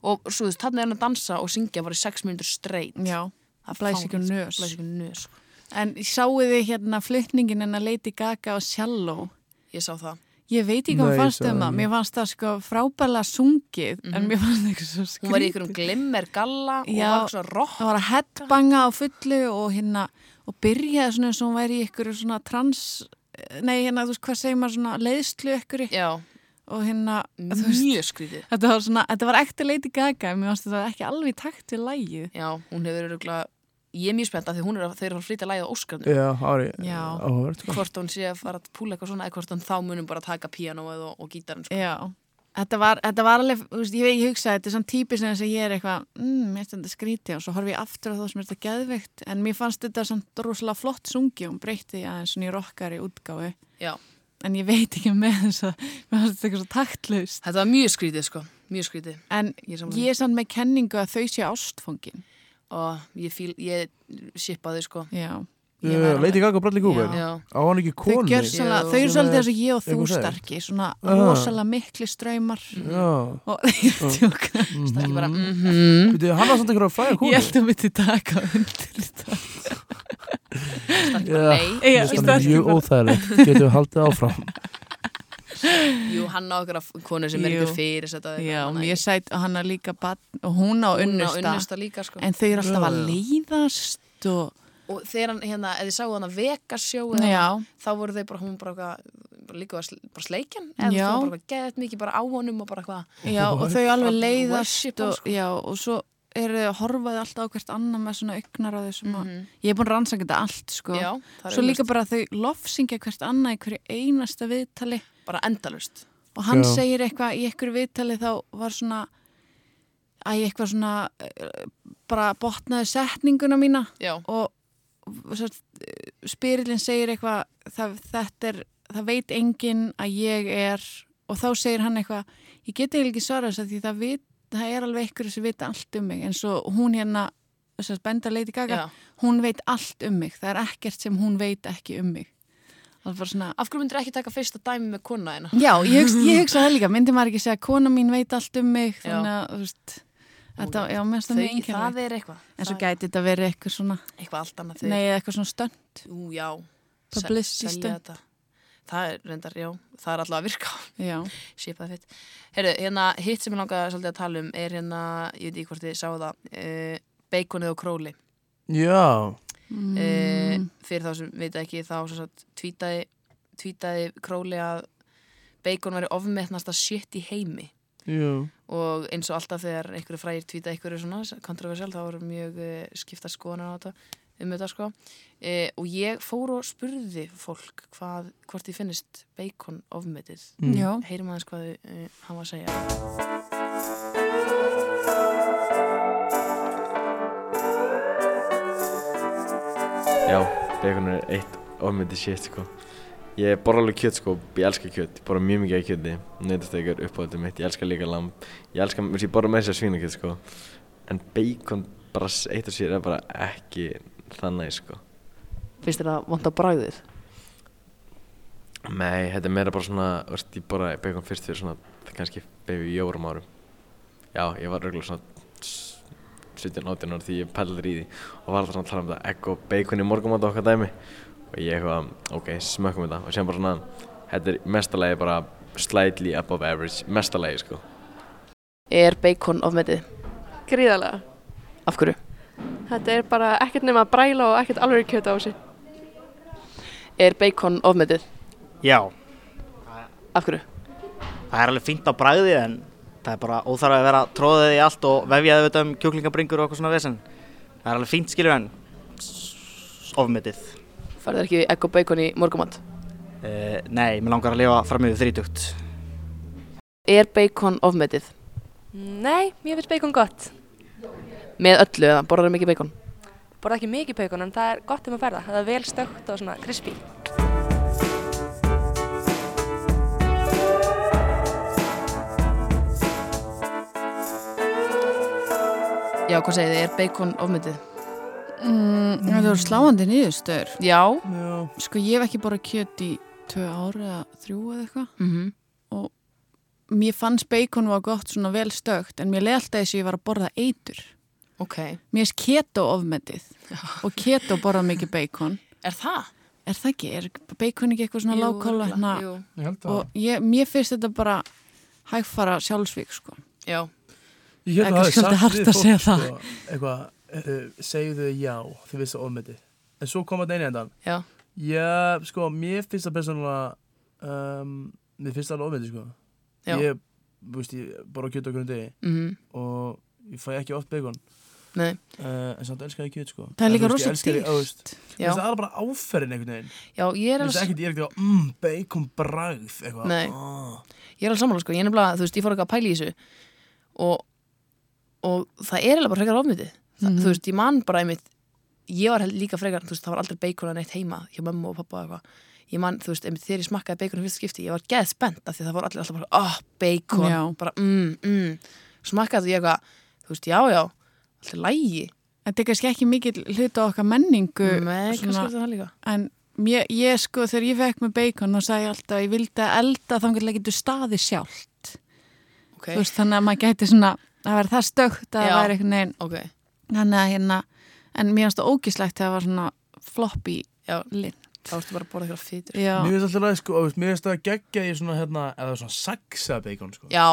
B: Og svo þú veist, þarna er hann að dansa og syngja bara í sex mínútur streit.
D: Já, það blæs ekki um nös
B: Blæs ekki um nös. sko.
D: En sáu þið hérna flytningin en að leiti Gaga og Shallow?
B: Ég sá það.
D: Ég veit ekki hvað
C: Nei, ég
D: fannst
C: sá
D: um
C: það
D: það.
C: ekki.
D: Mér fannst það sko frábæla sungið en mér fannst það eitthvað svo skrítið.
B: Mhm. Hún var í einhverjum glimmer galla og
D: Já.
B: var svona rock
D: Það var að headbanga á fullu og hérna og byrjaði svona eins og hún væri í einhverju svona trans... Nei, hérna, þú veist, hvað segir maður svona leiðslu ykkur
B: Já,
D: og hérna, þú veist,
B: mjög skrítið.
D: þetta var svona, þetta var ekti leiti gaga, en mér fannst þetta ekki alveg í takt við lægið.
B: Já, hún hefur öruglega, ég er mjög spennt að því hún er að þeir eru að flytja lægið á Óskarnu.
C: Já, ári,
D: Já.
C: áhört, sko.
B: Hvort hún sé að fara að púla eitthvað svona eða hvort hún þá munum bara að taka píanóið og, og gítarinn sko.
D: Já, þetta var, þetta var alveg, þú veist, ég veit ekki hugsa, þetta er svona típis en þess að ég er eitthvað, mm, mér finnst þetta skríti og svo horfi ég aftur á það sem er þetta geðveikt en mér fannst þetta samt rosalega flott sungi og breytti því aðeins svona í rockari útgáfi
B: Já,
D: en ég veit ekki með þess að mér fannst þetta eitthvað svo taktlaust
B: þetta var mjög skrítið sko, mjög skrítið.
D: en
B: Ég er sammála.
D: ég er samt með kenningu að þau sé ástfóngin
B: Og ég fíl, ég shippa þau sko.
D: Já, ég var
C: Uh,
D: alveg-
C: Lady Gaga og Bradley Cooper.
D: Já.
B: Já,
C: Á hann ekki
D: Þau,
C: konu?
D: gjör svona,
B: Jú.
D: þau eru
C: Svona-
D: svolítið eins og ég og þú
C: Eitthvað sætt.
D: starki, svona
C: Ah. Mm.
D: rosalega mikli ströymar
C: Já.
D: og
C: Ah.
D: ég er að tjóka.
B: það er ekki bara, mhm,
C: Býtu, hann var samt einhverja fræða konu.
D: Ég held að myndi taka undir þetta.
B: það er ekki
C: Já.
B: bara nei.
C: Mér
D: Já,
C: finnst það
D: Starki
C: mjög
D: bara-
C: óþægilegt, getum við haldið áfram
B: Jú, hann á okkur af konu sem er
D: Jú.
B: ekki fyrir þetta.
D: Já, mjög sætt og hann er líka barn, og hún á unnusta
B: unnusta líka sko.
D: en þau eru alltaf að leiðast og
B: og þegar hann, hérna, eða ég sá hann að vekasjó
D: Já.
B: þá voru þau bara, hún bara, eitthvað, bara líka var sl- bara sleikjan eða
D: Já.
B: þú bara geðið mikið bara á honum og bara hvað
D: já, og þau alveg
B: Bara
D: leiðast
B: worship hann, sko.
D: og, já, og svo eru þau að horfaði alltaf á hvert annað með svona augnar á þau sem að ég er búin að rannsaka þetta allt sko
B: Mhm. Já, það er
D: svo líka bara að þau lofsingja hvert annað í hverju einasta viðtali
B: bara endalust
D: og hann
C: Já.
D: segir eitthvað í einhverju viðtali þá var svona að ég eitthvað svona eh, bara botnaði setninguna mína
B: já,
D: og svo, spyrillin segir eitthvað það, þetta er, það veit enginn að ég er og þá segir hann eitthvað ég get eiginlega ekki svarað þess að því það, vit, það er alveg ykkur sem vita allt um mig en svo hún hérna sem sagt, benda Lady Gaga,
B: já,
D: hún veit allt um mig það er ekkert sem hún veit ekki um mig það er bara svona
B: Af hverju myndir ekki taka fyrsta dæmi með kona hérna?
D: Já, ég hugsa, ég hugsa það líka, myndi maður ekki segja kona mín veit allt um mig,
B: Já.
D: þannig að, þú veist, þetta, já, mennst það mjög
B: Þau, það
D: einkennilegt.
B: er eitthvað.
D: En svo
B: Það er
D: gæti þetta verið eitthvað svona,
B: Eitthvað allt annað þau.
D: nei, eitthvað svona stönd,
B: Ú, já. Se-
D: publicity
B: selja
D: stönd.
B: þetta. Það er reyndar, já, það er allavega að virka
D: Já,
B: Sýpaði fett Herru, hérna, hitt sem ég langaði svolítið að tala um er hérna, ég veit ekki hvort þið sáu það uh, Baconið og króli
C: Já,
B: mm. fyrir þá sem veit ekki þá sem sagt, tvítaði, tvítaði króli að bacon væri ofmetnasta shit í heimi
C: já
B: og eins og alltaf þegar einhverju fræðir tvíta einhverju svona kontroversiál þá voru mjög uh, skipta skoðanar á þetta um þetta sko uh, og ég fór og spurði fólk hvað, hvort þið finnist bacon ofmetið
D: já,
B: heyrim aðeins hvað uh, hann var að segja
E: Já, bacon er eitt ofmyndi shit sko Ég borða alveg kjöt sko, ég elska kjöt, ég borða mjög mikið af kjöti Neytastekar uppáðum mitt, ég elska líka lamb Ég elska, þú veist, ég borða með þess að svínakjöt sko En bacon bara s- eitt og sér er bara ekki þannig sko
B: finnst þér það vant að bræðið?
E: Nei, þetta er meira bara svona, þú veist, ég borða bacon fyrst fyrir svona Kannski baby jórum árum Já, ég var örgulega svona 17-18 ára því ég pælður í því og var alltaf svona að tala um þetta egg og bacon í morgumat og okkar dæmi og ég eitthvað, ok, smökkum þetta og sem bara svona, þetta er mestalagi bara slightly above average, mestalagi sko
B: Er bacon ofmetið?
F: gríðarlega.
B: Af hverju?
F: Þetta er bara ekkert nema að bræla og ekkert alveg kjöta á þessu.
B: Er bacon ofmetið?
G: Já,
B: Af hverju?
G: það er alveg fínt á bragði en það er bara óþarf að vera tróðið í allt og vefjaði auðvitað um kjúklingabringur og eitthvað svona vesen. Það er alveg fínt skilur en s- ofmetið.
B: Færðu ekki egg og bacon í morgumat?
G: Uh, nei, mér langar að lifa fram yfir þrítugt.
B: Er bacon ofmetið?
F: Nei, mér finnst bacon gott.
B: Með öllu eða borðar mikið bacon?
F: Borða ekki mikið bacon en það er gott um að ferða. Það er vel stökt og svona crispy.
B: Já, hvað segið þið? Er bacon ofmetið?
D: mm, það voru sláandi niðurstöður.
B: Já.
C: Já,
D: Sko, ég hef ekki bara kjöt í tvö ára eða þrjú eða eitthvað.
B: Mm
D: Mér fannst bacon var gott svona vel stökt, en mér leði alltaf þess að ég var að borða eitur.
B: Ok.
D: Mér finnst keto ofmetið og keto borða mikið bacon.
B: Er það?
D: Er það ekki? Er bacon ekki eitthvað svona lágkóla? hérna.
B: Jú.
C: ég held að
D: og ég, mér finnst þetta bara hægfara sjálfsvík sko.
B: Já.
C: Ég held
D: Það er
C: hafi sagt
D: svolítið hart
C: við
D: að
C: fólk,
D: segja
C: sko,
D: það.
C: Eitthvað, uh, segjuðu já, þið vissi ofmetið En svo kom að einu endan
B: Já.
C: Já, sko, mér finnst það persónulega um, Mér finnst það alveg ofmetið, sko
B: Já.
C: Ég, þú veist, ég bara kjöt á hverjum degi
B: Mm
C: Og ég fæ ekki oft bacon
B: Nei.
C: uh, En samt elskar ég kjöt, sko
D: Það er líka
C: En, þú veist,
D: rosa
C: ég elska því, þú veist,
D: dýrt
B: Já.
C: Mér finnst það bara áferðin einhvern veginn
B: Já, ég er
C: Mér
B: alveg,
C: finnst ekkert, ég er ekkert eitthvað, mmm, bacon bragð Eitthvað
B: Nei.
C: ah.
B: ég er alveg sammála sko. Ég er nefnilega, þú veist, ég fór eitthvað að pæla í þessu og, og það er alveg bara frekar ofmetið. Mm Þú veist, ég man bara einmitt, ég var held- líka frekar, þú veist, það var aldrei bacon að neitt heima hjá mömmu og pappa og eitthvað. Ég man, þú veist, einmitt þegar ég smakkaði bacon í fyrsta skipti, ég var geð spennt af því það voru allir alltaf bara, ah, bacon,
D: Já.
B: bara, mm, mm. Smakkaði og ég eitthvað, þú veist, já, já, allt er lægi.
D: Þetta er kannski ekki mikið hluta okkar menningu
B: Nei, kannski
D: svona,
B: er það líka.
D: en mér, ég sko þegar ég fekk með bacon þá sagði ég alltaf að ég vildi að elda þá getur getur staði sjálft
B: Ok,
D: Þú veist, þannig að maður gæti svona það væri það stökt að
B: Já.
D: það væri einhvern veginn
B: ok.
D: þannig að hérna en mér finnst það ógíslegt þegar það var svona floppy
B: Já,
D: linn
B: þá ertu bara að borða eitthvað fýtur.
D: Já,
C: Mér finnst alltaf leið, sko, þú veist, mér finnst það geggja í svona, hérna, eða svona saxa bacon, sko
B: Já,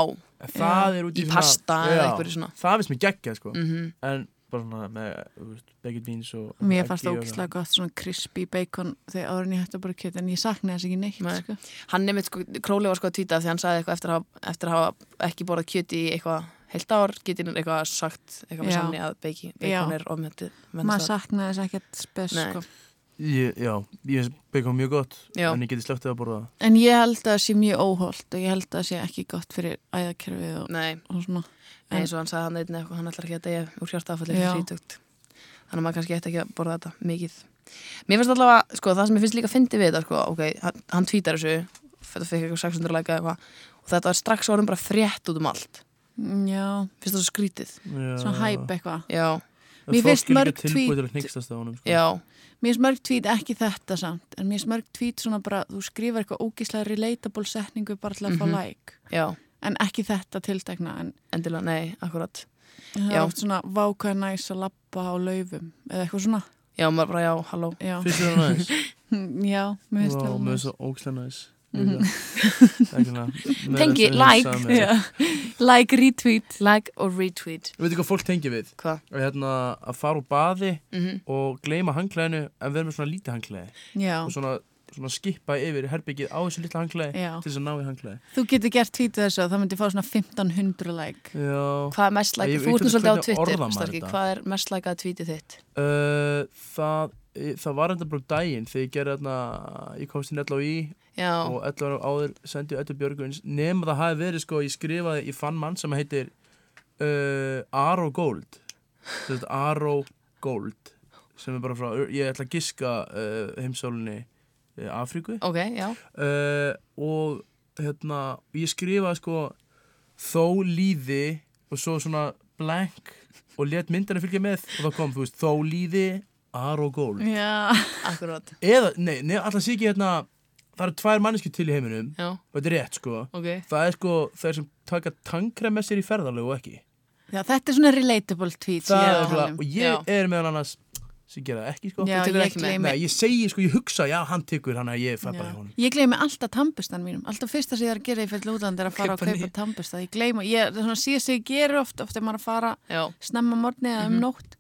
C: En það er út í,
B: Í
C: svona-
B: pasta eða einhverju svona.
C: Það finnst mér geggjað
D: Mm.
C: sko
B: mhm.
C: En bara svona með þú veist, baked beans og
D: mér fannst það
C: egg í og
D: ógíslega gott svona crispy bacon þegar árin ég hætti að bara kjöta en ég saknaði þess ekki neitt
B: Nei.
D: sko.
B: hann nefnir sko, Króli var sko að týta því hann sagði eitthvað eftir að, hafa- eftir að hafa ekki borðað kjöti í eitthvað heilt ár, getinn eitthvað sagt eitthvað með
D: Já.
B: sanni að beiki,
D: Já.
B: beikon er ofmyndið
D: maður saknaði þess ekkert spes
B: Nei.
D: sko.
C: Ég, já, ég finnst bacon mjög gott
B: Já.
C: En ég geti slögt að borða það.
D: En ég held að það sé mjög óholt og ég held að það sé ekki gott fyrir æðakerfið og,
B: Nei,
D: og svona. En-
B: eins og hann sagði hann eitthvað eitthvað, hann ætlar ekki að deyja úr hjartafalli
D: Já.
B: fyrir sítugt þannig að maður kannski ætti ekki að borða þetta mikið Mér finnst allavega, sko, það sem ég finnst líka fyndi við þetta, sko, ok, hann, hann tvítar þessu þetta fekk eitthvað 600 læka eitthvað og þetta var strax orðin bara frétt út um allt
D: Mm, Já,
B: finnst það svo skrítið
C: Já.
D: svona hæp eitthvað.
B: Já,
D: Mér finnst mörg
C: Tilbúið
D: tweet-
C: til að hnyggstast á honum sko.
B: Já,
D: Mér finnst mörg tvít ekki þetta samt, en mér finnst mörg tvít svona bara, þú skrifar eitthvað ógíslega relatable setningu bara til að
B: Mhm.
D: fá like,
B: já,
D: en ekki þetta tiltekna, en
B: endilega, nei, akkurat
D: það
B: Já.
D: er oft svona vákaða næs að lappa á laufum, eða eitthvað svona,
B: Já, maður bara, já, halló
D: já,
C: Finnst þér það næs?
D: já, mér finnst
C: Vá,
D: það
C: mér
D: Mhm. alveg.
C: finnst það ógæslega næs Ekki það
B: Tengi, like.
D: Já. Like, retweet,
B: Like or retweet
C: Við veitum hvað fólk tengi við
B: Hvað?
C: Að, hérna, að fara úr baði
B: Mhm.
C: og gleyma hangklæðinu en vera með svona lítið hangklæði
D: já,
C: og svona, svona skipa yfir herbyggið á þessu lítið hangklæði
D: já,
C: til þess að ná í hangklæði
D: þú getur gert tvítið þessu og það myndi fá svona 1500 like.
C: Já
B: Hvað er mest
C: Ég
B: like,
C: veit
B: þú ert nú
C: ekki
B: svolítið á
C: hvernig orða
B: Twitter
C: maður
B: Starki,
C: þetta.
B: hvað er mest like að tweetið þitt?
C: Uh, það, það var enda bara um daginn þegar ég gerði þarna, ég komst inn 11 á í
B: Já,
C: og 11 ára áður sendi Öttu Björgvins nema það hafi verið sko, ég skrifaði ég fann mann sem heitir uh, Aró Gold Sem sagt, Aró Gold sem er bara frá, ég ætla að giska uh, heimsálunni uh, Afríku
B: ok, já
C: uh, og hérna ég skrifaði sko þó líði og svo svona blank og let myndina fylgja með og þá kom þú veist þó líði Aró Gold
D: Já,
B: Akkurat,
C: eða, nei, nei alltaf sé ekki hérna það eru tvær mannesku til í heiminum
B: já,
C: og þetta er rétt sko
B: ok
C: það er sko þeir sem taka tankrem með sér í ferðarlegu og ekki
D: já þetta er svona relatable tweet sem
C: það
D: ég er
C: er
D: að
C: svona,
D: tala um.
C: og ég
B: Já.
C: er meðan annars sem gera það ekki sko
D: Já,
B: Þú tekur
D: ég
B: ekki með.
D: gleymi-
C: Nei, ég segi sko, ég hugsa, já, hann tekur hann að ég fæ bara
D: Já.
C: í honum
D: Ég gleymi alltaf tampustan mínum, alltaf fyrsta sem ég er að gera í fyrir útland er að fara
C: Kaupa
D: að kaupa
C: nýja.
D: tampusta. Ég gleymi, ég, það er svona síðast sem ég gerir oft, oft er maður að fara
B: Já, Mhm.
D: snemma morgni eða um nótt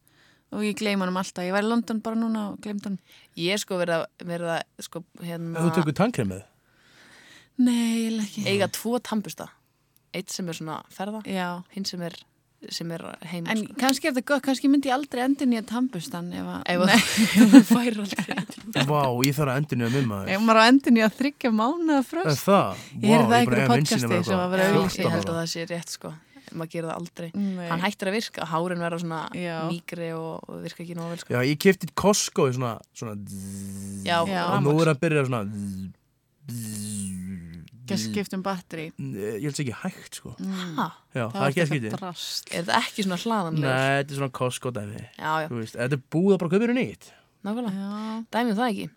D: og ég gleymi honum alltaf. Ég var í London bara núna og gleymd honum.
B: ég er sko verið að, verið að sko,
C: ef þú
B: hérna,
C: tekur tankrem með
D: Nei, ég ekki.
B: eiga tvo tampusta Eitt sem er svona ferða,
D: Já,
B: hinn sem er, sem er sko. heim
D: en kannski er þetta gott, kannski myndi ég aldrei endur nýja tampustan ef að...
B: Ef að-
D: Nei,
B: þú fær aldrei
C: vá, ég þarf að endur nýja með
D: ef
C: maður
D: maður á endur nýja þryggja mánuða
C: er
D: fröst.
C: það,
D: Ég heyrði það í
C: bara
D: einhverju
C: hef vinsinn að
D: podcasti
C: vera
D: sem
C: eitthvað
D: var verið að
B: Já,
D: auglýsa.
B: Ég held
C: 14
B: að
C: ára.
B: það sé rétt sko Maður gerir það aldrei
D: Nei.
B: Hann hættir að virka, hárin verða svona
D: Já.
B: mýkri og, og virka ekki nóg vel sko
C: já, ég kefti Costco í svona, svona
B: Já,
D: Já.
C: og nú er að byrja svona
D: Kannski skiptum batteri.
C: ég held sér ekki hægt sko já,
B: Ha,
C: það er ekki að skýti nei,
D: drast.
B: er þetta ekki svona hlaðanlegur?
C: þetta er svona Costco dæmi
B: Já, já,
C: þú veist, þetta er búið að bara köpa hérna nýtt
B: nákvæmlega
D: Já,
B: dæmið það ekki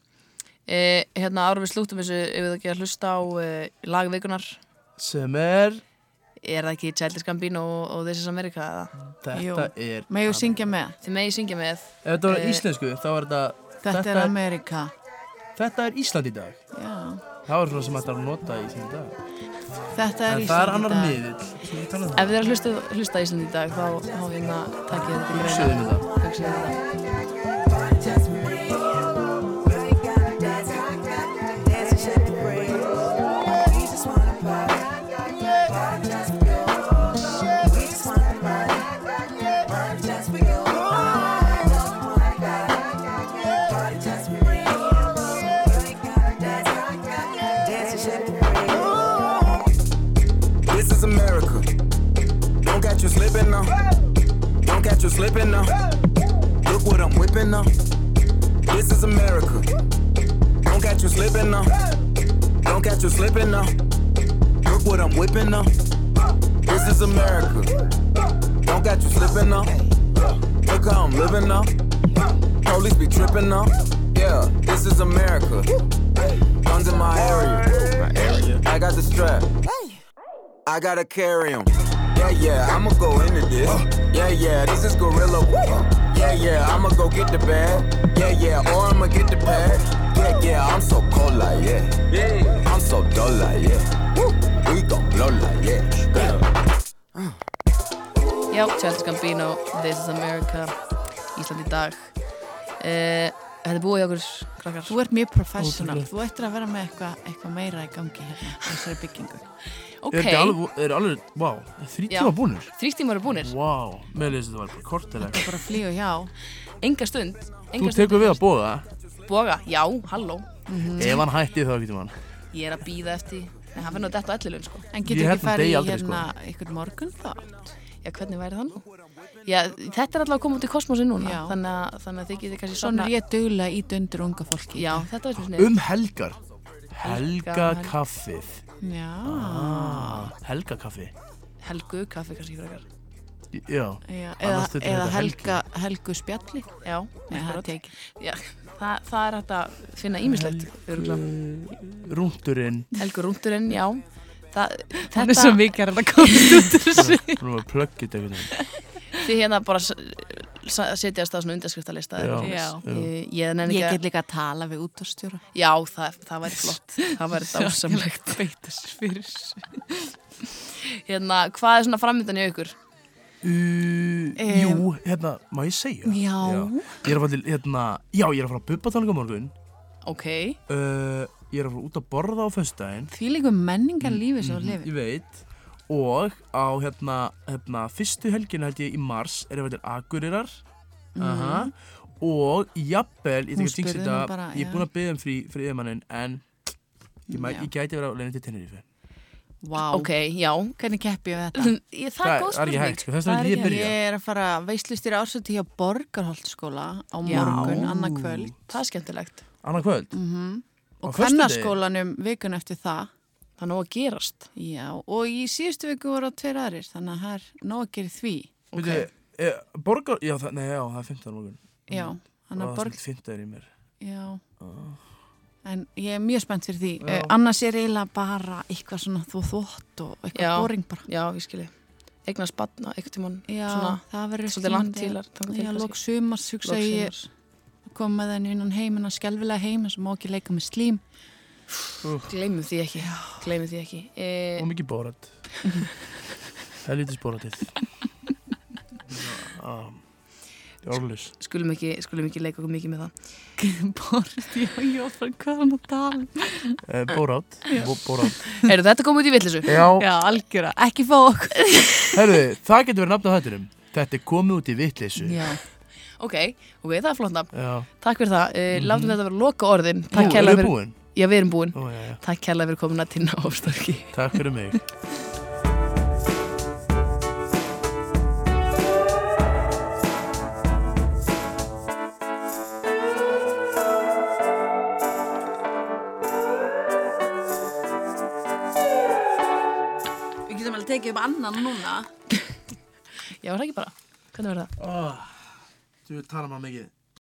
B: e, hérna árum við slúttum þessu ef við ekki að hlusta á e, lagveikunar
C: sem er
B: er það ekki Childish Gambino og, og This is America eða?
C: þetta
D: Jú.
C: er
D: megðu syngja með.
B: þið megi syngja með
C: ef þetta var
B: Eh,
C: íslensku þá var þetta
D: Þetta er Amerika.
C: þetta er Ísland í dag
D: Já.
C: það var svona sem þetta er að nota í sín dag
D: Þetta er
C: en það er annar miðill sem ég tala um
B: ef þið er að hlusta, hlusta í Íslandi í dag þá, þá hérna takk ég þetta
C: Hugsið um þetta.
B: Hugsaðu um þetta
H: This is America. Don't catch you slipping now. Don't catch you slipping now. Look what I'm whipping up. This is America. Don't catch you slipping now. Don't catch you slipping now. Look what I'm whipping up. This is America. Don't catch you slipping now. Look how I'm living up. Police be tripping up. Yeah, this is America. Guns in my area. I got the strap. I gotta carry 'em. Yeah, yeah, I'ma go into this. Yeah, yeah, this is Gorilla. Yeah, yeah, I'ma go get the bag. Yeah, yeah, or I'ma get the pad. Yeah, yeah, I'm so cold like, yeah. I'm so dull like, yeah. Woo, We gon' blow like, yeah.
B: já, Childish Gambino, This is America Ísland í dag e, þetta er búið hjá okkur krakkar
D: Þú ert mjög professional, þú ættir að vera með eitthvað eitthva meira í gangi hérna, í þessari byggingu.
C: er
B: ok,
C: þetta alveg, er alveg, vá, þrý
B: Já.
C: tíma búnir
B: þrýtt tíma eru búnir
C: vá, með leysið þetta var bara kort eða
D: Það
C: eitthvað
D: er bara að flýja hjá.
B: enga stund,
C: þú
B: enga stund
C: tekur við að bóða
B: boga, já, halló
C: ef hann hætti þá getur hann
B: ég er að býða eftir en hann finnur að detta á ellilun sko
D: En
C: Ég
D: getur
C: held
D: ekki
C: hún
D: farið
C: deyi
D: í
C: aldrei, sko.
D: hérna ykkur morgun þátt?
B: já hvernig væri það nú já þetta er allavega að koma út í kosmosin núna
D: Já.
B: þannig að, þannig að þið getið kannski
D: Svona
B: svona
D: er ég duglega í döndur unga fólki.
B: já þetta var svona um.
C: um helgar helga
B: Helga-
C: kaffið
D: Já.
B: Ah.
C: Ah. helga kaffi
B: helgu kaffi kannski frekar
C: Já,
D: Já, eða,
C: Annars þyrfti
D: eða
C: þetta
D: helga, helgu spjalli
B: Já,
D: Nei, það
B: akkurat.
D: er ekki
B: Já, það, það er hægt að finna ímislegt örugglega.
C: rúndurinn
B: Helgu rúndurinn, já það,
D: Þetta er
B: Þetta,
D: svo mikið er þetta komið út úr þessu
C: Nú erum við að plöggja þetta einhvern veginn
B: þið hérna bara s- s- setjast á svona undirskriftalista eða
C: Já,
B: eitthvað.
D: Já.
B: Ég, ég nenni
D: Ég
B: ekki
D: get líka að tala við útastjóra
B: að- Já, það, það væri flott Það væri dásamlegt
D: Beita sér fyrir þessu
B: Hérna, hvað er svona framöndan í aukur?
C: uh, Jú, hérna, má ég segja?
D: Já.
C: Ég er að fara til, hérna, já, ég er að fara að bubba á morgun
B: Ok,
C: uh, Ég er að fara út að borða á föstudaginn
D: Því líka menningar lífi sem þú lifir
C: Ég veit Og á, hérna, hérna, fyrstu helginu held ég í mars Er ég að fara til Akureyrar Aha Og jafnvel, ég tek að
D: Hún Mhm. spurði
C: jinx
D: mig
C: þetta
D: bara,
C: Ég er
D: já.
C: búin að byggja um frí, frí yfirmannin En ég, mæ,
D: Já.
C: ég gæti verið að leina til Tenerife
D: Vá,
B: ok, já
D: hvernig keppi ég við þetta?
B: Ég- Það er góð
C: það er ekki
B: spurning
C: hægt, sko, þess
B: Það
C: vegna
B: er
C: vil ég
B: ekki
C: byrja
D: Ég er að fara veislustir ársöti hjá Borgarholtskóla á
B: Já.
D: morgun, annað kvöld
B: hægt. Það er skemmtilegt
C: Annað kvöld
D: Mhm. og
C: föstudegi?
D: kvennarskólanum vikun eftir það
B: Það er nóg að gerast
D: Já, og í síðustu viku voru það tveir aðrir þannig að það er nóg að gera í því
C: okay. e, Borgar, já, það, nei, já, það er 15 morgun
D: Já,
B: Mm.
C: Það
D: þannig að
C: er
D: borg
C: borg... 15 í mér
D: Já En ég er mjög spennt fyrir því
C: Já.
D: uh, Annars er eiginlega bara eitthvað svona þú þvott og eitthvað
B: Já.
D: boring bara
B: Já, ég skilji Eignast batna, eitthvað tímann
D: Já,
B: Svona,
D: það verður
B: svolítið langt til að taka til
D: Já,
B: kannski.
D: lók sumars hugsa
B: Loks
D: ég
B: sumars.
D: koma með henni innan heim en að skelfilega heim sem má ekki leika með slím
B: Gleymum því ekki, gleymum því ekki e,
C: Og mikið borat Helvitis boratið Jórlis
B: skulum, ekki, skulum ekki leika okkur mikið með það
D: Borist, já, já, frá hvað hann að tala um?
C: e, Borat Bo- Borat
B: Eru þetta komið út í villisu?
C: Já,
D: Já, algjöra, ekki fá okkur
C: herðu, það getur verið nafn á hættunum Þetta er komið út í vitleysu
D: Já,
B: Ok, ok, það er flott nafn.
C: Já,
B: Takk fyrir það, uh, látum þetta vera loka orðin Takk
C: Mhm. Jú,
B: kærlega
C: erum við
B: fyrir,
C: búin
B: já við erum búin
C: Ó, já, já.
B: Takk kærlega fyrir komin að tinna ofstarki
C: Takk fyrir mig
D: við getum alveg tekið um annan núna
B: Já, var það ekki bara, hvernig verður það?
C: oh, Ah, Þú tala maður mikið